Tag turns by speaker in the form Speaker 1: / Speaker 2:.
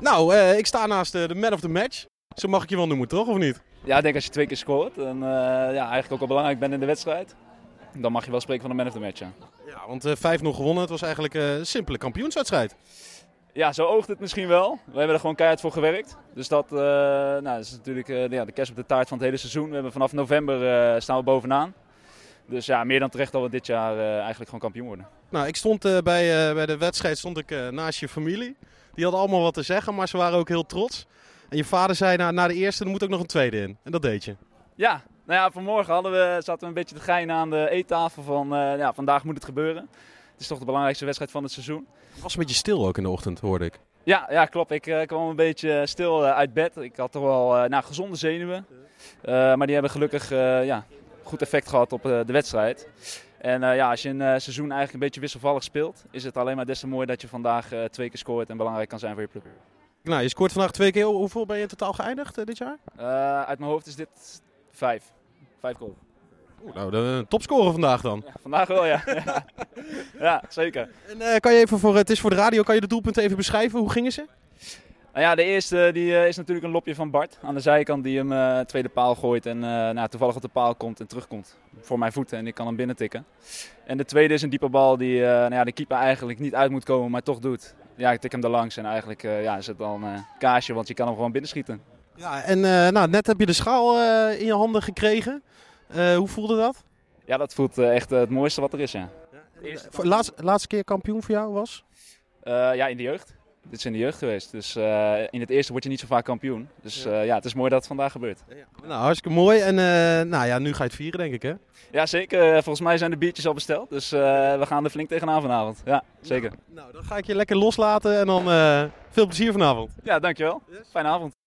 Speaker 1: Nou, eh, ik sta naast eh, de man of the match. Zo mag ik je wel noemen, toch? Of niet?
Speaker 2: Ja, ik denk als je twee keer scoort en eh, ja, eigenlijk ook al belangrijk bent in de wedstrijd, dan mag je wel spreken van de man of the match. Ja,
Speaker 1: Ja, want eh, 5-0 gewonnen. Het was eigenlijk eh, een simpele kampioenswedstrijd.
Speaker 2: ja zo oogt het misschien wel. We hebben er gewoon keihard voor gewerkt. Dus dat, eh, nou, dat is natuurlijk eh, ja, de kerst op de taart van het hele seizoen. We hebben vanaf november eh, staan we bovenaan. Dus ja, meer dan terecht dat we dit jaar eh, eigenlijk gewoon kampioen worden.
Speaker 1: Nou, ik stond eh, bij, eh, bij de wedstrijd stond ik, eh, naast je familie. Die hadden allemaal wat te zeggen, maar ze waren ook heel trots. En je vader zei, na, na de eerste, er moet ook nog een tweede in. En dat deed je.
Speaker 2: Ja, nou ja, vanmorgen hadden we, zaten we een beetje te geinen aan de eettafel van eh, ja, vandaag moet het gebeuren. Het is toch de belangrijkste wedstrijd van het seizoen.
Speaker 1: Het was een beetje stil ook in de ochtend, hoorde ik.
Speaker 2: Ja, ja klopt. Ik eh, kwam een beetje eh, stil eh, uit bed. Ik had toch wel eh, nou, gezonde zenuwen. Eh, maar die hebben gelukkig eh, ja, goed effect gehad op eh, de wedstrijd. En eh, ja, als je een eh, seizoen eigenlijk een beetje wisselvallig speelt, is het alleen maar des te mooi dat je vandaag eh, twee keer scoort en belangrijk kan zijn voor je club.
Speaker 1: Nou, je scoort vandaag twee keer. Hoe- Hoeveel ben je in totaal geëindigd eh, dit jaar?
Speaker 2: Eh, uit mijn hoofd is dit vijf. Vijf goals.
Speaker 1: Oeh, nou, de topscorer vandaag dan.
Speaker 2: Ja, vandaag wel, ja. ja. ja, zeker.
Speaker 1: En eh, kan je even voor, het is voor de radio, kan je de doelpunten even beschrijven? Hoe gingen ze?
Speaker 2: Nou ja, de eerste die, eh, is natuurlijk een lopje van Bart aan de zijkant die hem eh, tweede paal gooit en eh, nou, toevallig op de paal komt en terugkomt voor mijn voeten en ik kan hem binnen tikken. En de tweede is een diepe bal die eh, nou ja, de keeper eigenlijk niet uit moet komen, maar toch doet. Ja, ik tik hem er langs en eigenlijk eh, ja, is het dan eh kaasje, want je kan hem gewoon binnenschieten.
Speaker 1: Ja, en eh, nou, net heb je de schaal eh, in je handen gekregen. Eh, hoe voelde dat?
Speaker 2: Ja, dat voelt eh, echt eh, het mooiste wat er is, ja.
Speaker 1: Voor- Laatst, laatste keer kampioen voor jou was?
Speaker 2: Eh, ja, in de jeugd. Dit is in de jeugd geweest, dus eh, in het eerste word je niet zo vaak kampioen. Dus eh, ja, het is mooi dat het vandaag gebeurt.
Speaker 1: Nou, hartstikke mooi. En eh, nou ja, nu ga je het vieren, denk ik, hè?
Speaker 2: Ja, zeker. Eh, Volgens mij zijn de biertjes al besteld. Dus eh, we gaan er flink tegenaan vanavond. Ja, zeker.
Speaker 1: Nou, dan ga ik je lekker loslaten en dan eh, veel plezier vanavond.
Speaker 2: Ja, dankjewel. Fijne avond.